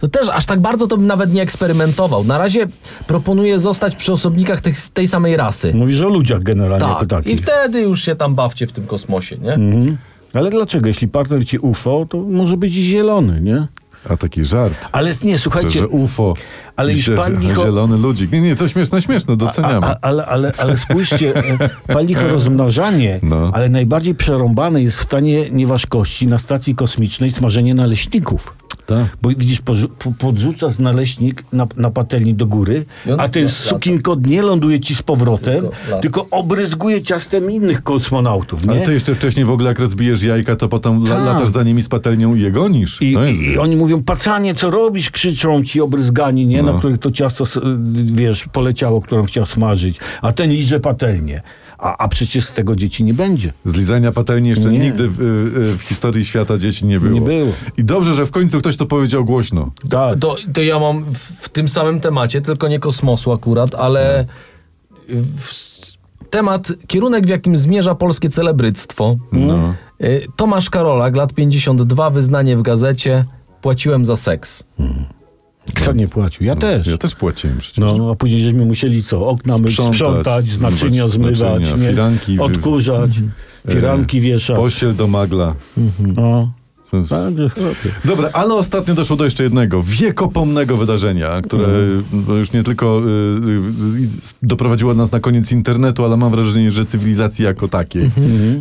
Speaker 3: to też aż tak bardzo to bym nawet nie eksperymentował. Na razie proponuję zostać przy osobnikach tych, tej samej rasy.
Speaker 2: Mówisz o ludziach generalnie jako
Speaker 3: Tak. I
Speaker 2: takich.
Speaker 3: wtedy już się tam bawcie w tym kosmosie, nie?
Speaker 2: No, Mhm. Ale dlaczego? Jeśli partner ci UFO, to może być i zielony, nie?
Speaker 1: A taki żart.
Speaker 2: Ale nie,
Speaker 1: Że,
Speaker 2: słuchajcie,
Speaker 1: że UFO.
Speaker 2: Ale
Speaker 1: i
Speaker 2: już
Speaker 1: że,
Speaker 2: pan
Speaker 1: że
Speaker 2: Michał-
Speaker 1: Zielony ludzik. Nie, nie, to śmieszne, śmieszne, doceniamy.
Speaker 2: A, a, ale, ale, ale spójrzcie, e,
Speaker 1: <laughs>
Speaker 2: palicho rozmnażanie,
Speaker 1: No.
Speaker 2: ale najbardziej przerąbane jest w stanie nieważkości na stacji kosmicznej smażenie naleśników.
Speaker 1: Tak.
Speaker 2: Bo widzisz, porzu- po- podrzucasz naleśnik na, na patelni do góry,
Speaker 3: I on
Speaker 2: a ten
Speaker 3: lata.
Speaker 2: sukinkod nie ląduje ci z powrotem,
Speaker 3: Tylko lata.
Speaker 2: tylko, obryzguje ciastem innych kosmonautów,
Speaker 1: Ale
Speaker 2: nie?
Speaker 1: ty No jeszcze wcześniej w ogóle jak rozbijesz jajka, to potem la,
Speaker 2: Tak.
Speaker 1: latasz za nimi z patelnią i je gonisz.
Speaker 2: I,
Speaker 1: to jest,
Speaker 2: I oni mówią, pacanie, co robisz? Krzyczą ci obryzgani, nie?
Speaker 1: No.
Speaker 2: Na których to ciasto, s- wiesz, poleciało, którą chciał smażyć. A ten liże patelnię. A, a przecież z tego dzieci nie będzie.
Speaker 1: Z lizania patelni jeszcze
Speaker 2: Nie.
Speaker 1: nigdy w, y, y, w historii świata dzieci nie było.
Speaker 2: Nie było.
Speaker 1: I dobrze, że w końcu ktoś to powiedział głośno.
Speaker 2: Tak.
Speaker 3: To, to ja mam w, w tym samym temacie, tylko nie kosmosu akurat, ale
Speaker 2: Mhm. Mhm.
Speaker 1: No.
Speaker 3: w, temat, kierunek w jakim zmierza polskie celebryctwo. Y, Tomasz Karolak, lat 52, wyznanie w gazecie. Płaciłem za seks.
Speaker 2: Kto nie płacił? Ja też.
Speaker 1: No, Ja też płaciłem przecież.
Speaker 2: No, a później żeśmy musieli co? Okna myć,
Speaker 1: Sprzątać,
Speaker 2: sprzątać, z naczynia
Speaker 1: zmywać
Speaker 2: zmywać,
Speaker 1: naczynia,
Speaker 2: nie?
Speaker 1: firanki Mhm. E, wy-
Speaker 2: odkurzać, firanki wieszać.
Speaker 1: Pościel do magla.
Speaker 2: No.
Speaker 1: To jest-
Speaker 2: Także chłopie.
Speaker 1: Dobra, ale ostatnio doszło do jeszcze jednego wiekopomnego wydarzenia, które
Speaker 2: Mhm.
Speaker 1: no, już nie tylko y, y, y, doprowadziło nas na koniec internetu, ale mam wrażenie, że cywilizacji jako takiej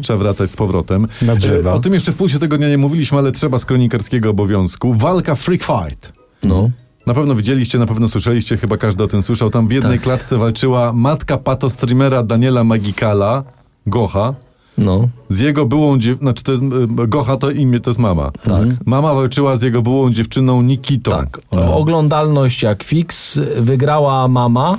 Speaker 1: trzeba wracać z powrotem.
Speaker 2: Mhm. Na drzewa.
Speaker 1: Y, O tym jeszcze w pulsie tego dnia nie mówiliśmy, ale trzeba z kronikarskiego obowiązku. Walka Freak Fight.
Speaker 3: No.
Speaker 1: Na pewno widzieliście, na pewno słyszeliście, chyba każdy o tym słyszał. Tam w jednej
Speaker 3: Tak.
Speaker 1: klatce walczyła matka patostreamera Daniela Magikala, Gocha,
Speaker 3: No.
Speaker 1: z jego byłą dziewczyną, znaczy to jest, y, Gocha to imię, to jest mama.
Speaker 3: Tak.
Speaker 1: Mama walczyła z jego byłą dziewczyną Nikitą.
Speaker 3: Tak. Oglądalność jak fix. Wygrała mama.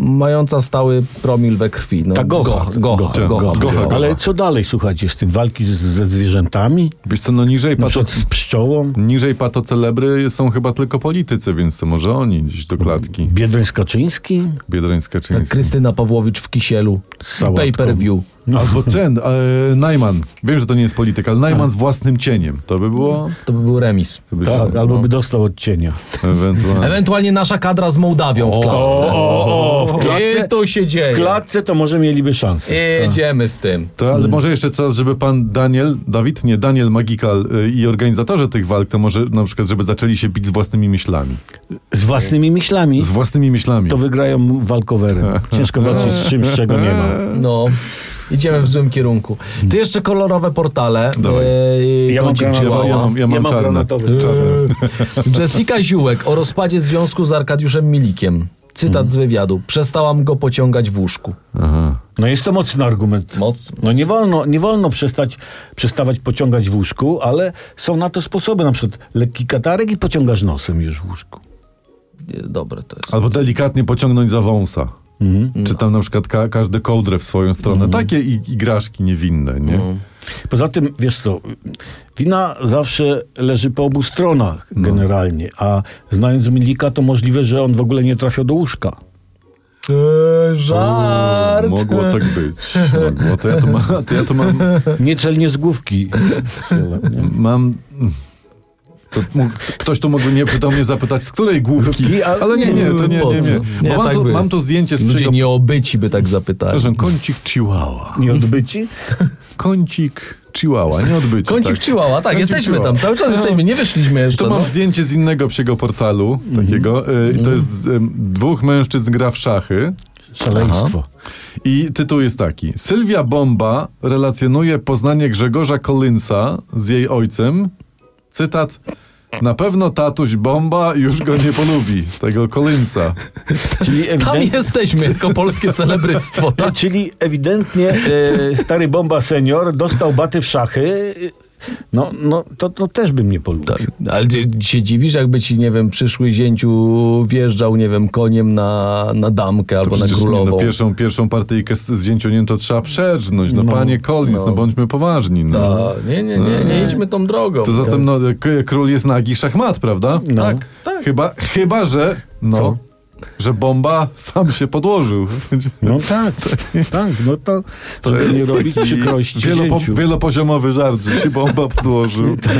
Speaker 3: Mająca stały promil we krwi. No,
Speaker 2: Mhm. Ta gocha.
Speaker 3: Gocha, gocha,
Speaker 1: Gocha.
Speaker 3: gocha,
Speaker 1: Gocha,
Speaker 3: gocha.
Speaker 2: Ale co dalej, słuchajcie, z tym walki z, ze zwierzętami?
Speaker 1: Wiesz co, no niżej,
Speaker 2: Na
Speaker 1: pato,
Speaker 2: przykład z pszczołą?
Speaker 1: niżej patocelebry są chyba tylko politycy, więc to może oni gdzieś do klatki.
Speaker 2: Biedroń Skaczyński?
Speaker 1: Biedrońska
Speaker 3: Ta
Speaker 1: Kaczyńska.
Speaker 3: Krystyna Pawłowicz w Kisielu.
Speaker 2: sałatką.
Speaker 3: Pay per view.
Speaker 1: Albo ten, e, Najman. Wiem, że to nie jest polityk, ale Najman z własnym cieniem. To by było...
Speaker 3: To by był remis.
Speaker 1: To by
Speaker 2: Tak,
Speaker 1: się-
Speaker 2: albo by dostał od cienia.
Speaker 1: Ewentualnie.
Speaker 3: Ewentualnie nasza kadra z Mołdawią w klatce.
Speaker 2: o, o, w
Speaker 3: I to się dzieje.
Speaker 2: W klatce to może mieliby szansę.
Speaker 3: Jedziemy z tym.
Speaker 1: To, ale może jeszcze czas, żeby pan Daniel, Dawid, nie, Daniel Magikal y, i organizatorzy tych walk, to może na przykład, żeby zaczęli się bić z własnymi myślami.
Speaker 2: Z własnymi myślami
Speaker 1: Z własnymi myślami.
Speaker 2: to wygrają walkowerem. Ciężko walczyć z czymś, czego nie ma.
Speaker 3: No, idziemy w złym kierunku. Tu jeszcze kolorowe portale.
Speaker 1: Dawaj.
Speaker 3: Eee,
Speaker 2: Ja mam
Speaker 3: kącik
Speaker 2: granat-
Speaker 1: Ja, mam-
Speaker 3: Chihuahua.
Speaker 1: ja mam, ja mam
Speaker 2: Ja mam
Speaker 1: czarne.
Speaker 2: granatowy.
Speaker 1: czarne.
Speaker 3: <laughs> Jessica Ziółek o rozpadzie związku z Arkadiuszem Milikiem. Cytat z wywiadu. Przestałam go pociągać w łóżku.
Speaker 1: Aha.
Speaker 2: No jest to mocny argument.
Speaker 3: Moc.
Speaker 2: No nie wolno, nie wolno przestać, przestawać pociągać w łóżku, ale są na to sposoby. Na przykład lekki katarek i pociągasz nosem już w łóżku.
Speaker 3: Nie, Dobre to jest.
Speaker 1: Albo delikatnie pociągnąć za wąsa. Czy tam na przykład ka- każdy kołdrę w swoją stronę. Takie i- igraszki niewinne, nie?
Speaker 2: Poza tym, wiesz co, wina zawsze leży po obu stronach
Speaker 3: No.
Speaker 2: generalnie, a znając Milika to możliwe, że on w ogóle nie trafił do łóżka.
Speaker 3: żart.
Speaker 1: Mogło tak być. Mogło. To ja tu, ma, to ja tu mam,
Speaker 2: Nieczelnie z
Speaker 3: <laughs>
Speaker 2: główki.
Speaker 1: mam... To mógł, ktoś tu mógłby nieprzytomnie zapytać, z której główki?
Speaker 2: Główki, a-
Speaker 1: Ale nie, nie, to nie,
Speaker 3: no, Po
Speaker 1: nie, nie.
Speaker 3: co? Nie,
Speaker 1: Bo mam,
Speaker 3: tak
Speaker 1: tu,
Speaker 3: by
Speaker 1: mam
Speaker 3: jest.
Speaker 1: tu zdjęcie z
Speaker 3: Ludzie
Speaker 1: przygo-
Speaker 3: nieobyci by tak zapytali.
Speaker 1: Przepraszam, kącik chihuahua.
Speaker 2: Nie odbyci?
Speaker 1: Kącik chihuahua, nie odbycie.
Speaker 3: Kącik tak.
Speaker 1: tak.
Speaker 3: tak,
Speaker 1: Kącik
Speaker 3: jesteśmy
Speaker 1: Chihuahua.
Speaker 3: tam, cały czas jesteśmy, nie wyszliśmy jeszcze.
Speaker 1: Tu mam
Speaker 3: no.
Speaker 1: zdjęcie z innego psiego portalu, takiego. y, I to jest y, dwóch mężczyzn gra w szachy.
Speaker 2: Szaleństwo.
Speaker 1: I tytuł jest taki. Sylwia Bomba relacjonuje poznanie Grzegorza Collinsa z jej ojcem. Cytat. Na pewno tatuś Bomba już go nie polubi, tego Collinsa.
Speaker 2: Czyli
Speaker 3: Tam
Speaker 2: ewidentnie,
Speaker 3: jesteśmy
Speaker 1: <laughs>
Speaker 3: jako polskie celebryctwo. Tak?
Speaker 2: No, czyli ewidentnie e, stary bomba senior dostał baty w szachy. No, no to, to też bym nie polubił.
Speaker 3: Tak. Ale ty się dziwisz, jakby ci, nie wiem, przyszły zięciu wjeżdżał, nie wiem, koniem na, na damkę albo na
Speaker 1: Przecież nie,
Speaker 3: królową.
Speaker 1: no, pierwszą, pierwszą partyjkę z zdjęciu to trzeba przerznąć. No, panie Collins, no.
Speaker 3: no. Tak.
Speaker 1: bądźmy poważni. No.
Speaker 3: A, nie, nie, nie, nie idźmy tą drogą.
Speaker 1: To zatem no, k- król jest nagi szachmat, prawda?
Speaker 2: No.
Speaker 3: Tak, tak.
Speaker 1: Chyba, chyba że. No.
Speaker 2: Co?
Speaker 1: Że bomba sam się
Speaker 2: <laughs>
Speaker 1: podłożył.
Speaker 2: No tak, tak, no to, to by nie robić przykrości
Speaker 1: Wielopo,
Speaker 2: dzieciu.
Speaker 1: wielopoziomowy żart, że się bomba
Speaker 2: <laughs>
Speaker 1: podłożył.
Speaker 2: Tak.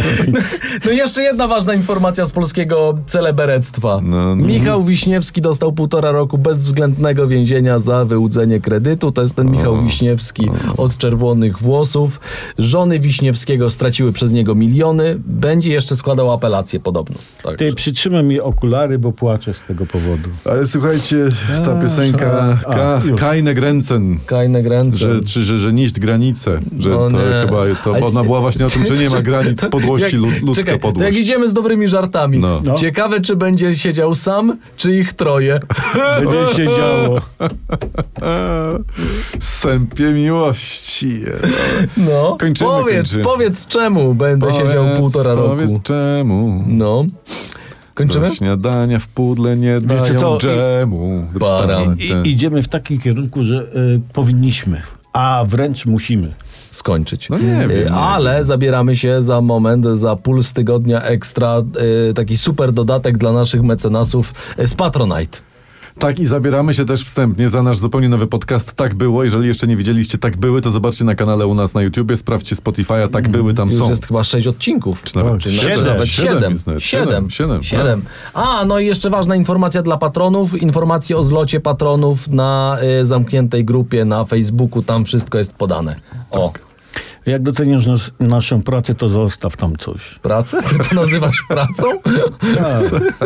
Speaker 3: No i jeszcze jedna ważna informacja z polskiego celeberectwa.
Speaker 1: No, no.
Speaker 3: Michał Wiśniewski dostał półtora roku bezwzględnego więzienia za wyłudzenie kredytu. To jest ten Michał Wiśniewski od czerwonych włosów. Żony Wiśniewskiego straciły przez niego miliony. Będzie jeszcze składał apelację podobno. Tak.
Speaker 2: Ty przytrzymaj mi okulary, bo płaczę z tego powodu.
Speaker 1: Ale słuchajcie, ta
Speaker 3: Tak.
Speaker 1: piosenka
Speaker 2: a,
Speaker 1: Ka,
Speaker 2: już. Tak.
Speaker 1: Keine Grenzen.
Speaker 3: Kajne gręce.
Speaker 1: Że, czy, że, że niść granice, że
Speaker 3: No
Speaker 1: to
Speaker 3: nie.
Speaker 1: chyba to,
Speaker 3: Ale-
Speaker 1: ona była właśnie o tym,
Speaker 3: <laughs>
Speaker 1: że nie ma granic podłości, lud, ludzka
Speaker 3: Czekaj, to jak
Speaker 1: podłość.
Speaker 3: idziemy z dobrymi żartami.
Speaker 1: No.
Speaker 2: No.
Speaker 3: Ciekawe, czy będzie siedział sam, czy ich
Speaker 1: <laughs>
Speaker 3: troje.
Speaker 2: Będzie się działo.
Speaker 1: Sępie miłości.
Speaker 3: No.
Speaker 1: Kończymy,
Speaker 3: powiedz,
Speaker 1: kończymy.
Speaker 3: powiedz czemu będę siedział
Speaker 1: Powiedz,
Speaker 3: półtora roku.
Speaker 1: Powiedz czemu.
Speaker 3: No. Kończymy?
Speaker 1: Do śniadania w pudle nie
Speaker 2: Wiecie
Speaker 1: dają
Speaker 2: co, i-
Speaker 1: dżemu.
Speaker 3: Baran.
Speaker 1: Ten-
Speaker 2: I, idziemy w takim kierunku, że y, powinniśmy, a wręcz musimy.
Speaker 3: Skończyć.
Speaker 1: No nie
Speaker 3: Y,
Speaker 1: wiem, nie
Speaker 3: Ale zabieramy się za moment, za puls tygodnia ekstra, y, taki super dodatek dla naszych mecenasów y, z Patronite.
Speaker 1: Tak i zabieramy się też wstępnie za nasz zupełnie nowy podcast Tak Było. Jeżeli jeszcze nie widzieliście Tak Były, to zobaczcie na kanale u nas na YouTubie, sprawdźcie Spotify'a, Tak Były, tam
Speaker 3: Mm, Już
Speaker 1: są.
Speaker 3: jest chyba sześć odcinków.
Speaker 1: Czy nawet
Speaker 3: Czy
Speaker 1: siedem.
Speaker 3: Nawet
Speaker 1: Siedem
Speaker 3: siedem.
Speaker 1: jest nawet.
Speaker 3: Siedem.
Speaker 1: Siedem, siedem,
Speaker 3: Siedem. A, no i jeszcze ważna informacja dla patronów. Informacje o zlocie patronów na y, zamkniętej grupie na Facebooku. Tam wszystko jest podane. O,
Speaker 1: Tak.
Speaker 2: Jak doceniasz nas, naszą pracę, to zostaw tam coś.
Speaker 3: pracę? Ty to nazywasz
Speaker 1: <laughs>
Speaker 3: pracą?
Speaker 1: <laughs>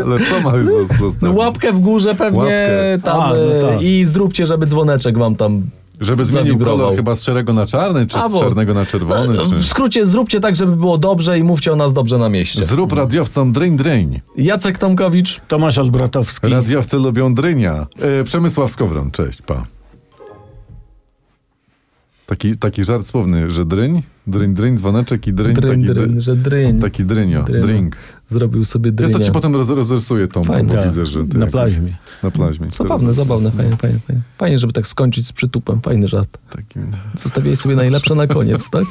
Speaker 1: Ale co
Speaker 3: <laughs>
Speaker 1: ma zostać?
Speaker 3: No łapkę w górze pewnie
Speaker 1: Łapkę.
Speaker 3: tam
Speaker 2: A, no
Speaker 3: y,
Speaker 2: tak.
Speaker 3: i zróbcie, żeby dzwoneczek wam tam
Speaker 1: Żeby zmienił
Speaker 3: zawibrował.
Speaker 1: kolor chyba z szarego na czarny, czy
Speaker 3: Albo-
Speaker 1: z czarnego na czerwony,
Speaker 3: W <laughs>
Speaker 1: czy...
Speaker 3: skrócie zróbcie tak, żeby było dobrze i mówcie o nas dobrze na mieście.
Speaker 1: Zrób radiowcom drain drain.
Speaker 3: Jacek Tomkowicz.
Speaker 2: Tomasz Odbratowski.
Speaker 1: Radiowcy lubią drynia. E, Przemysław Skowron, cześć, pa. Taki, taki żart słowny, że dryń, dryń, dryń, dzwoneczek i dryń,
Speaker 3: Dryn,
Speaker 1: taki,
Speaker 3: dryn,
Speaker 1: dy-
Speaker 3: że dryn.
Speaker 1: taki drynio,
Speaker 3: Dryno.
Speaker 1: drink.
Speaker 3: Zrobił sobie
Speaker 1: Ja
Speaker 3: drynia.
Speaker 1: to ci potem roz, rozrysuję tą, bo
Speaker 3: Fajnie.
Speaker 1: widzę, że... ty
Speaker 2: Tak, Na
Speaker 1: jakoś-
Speaker 2: plaźmie.
Speaker 1: Na plaźmie.
Speaker 3: Zabawne, zabawne, fajnie, fajnie, fajnie. Fajnie, żeby tak skończyć z przytupem, fajny żart.
Speaker 1: Takim... <laughs>
Speaker 3: Zostawiaj sobie najlepsze na koniec, tak?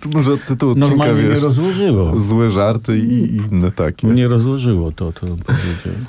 Speaker 1: To może od tytułu <laughs> odcinka,
Speaker 2: Mm. Normalnie nie
Speaker 1: wiesz,
Speaker 2: rozłożyło.
Speaker 1: złe żarty i i inne takie.
Speaker 2: Nie rozłożyło to, to powiedziałem.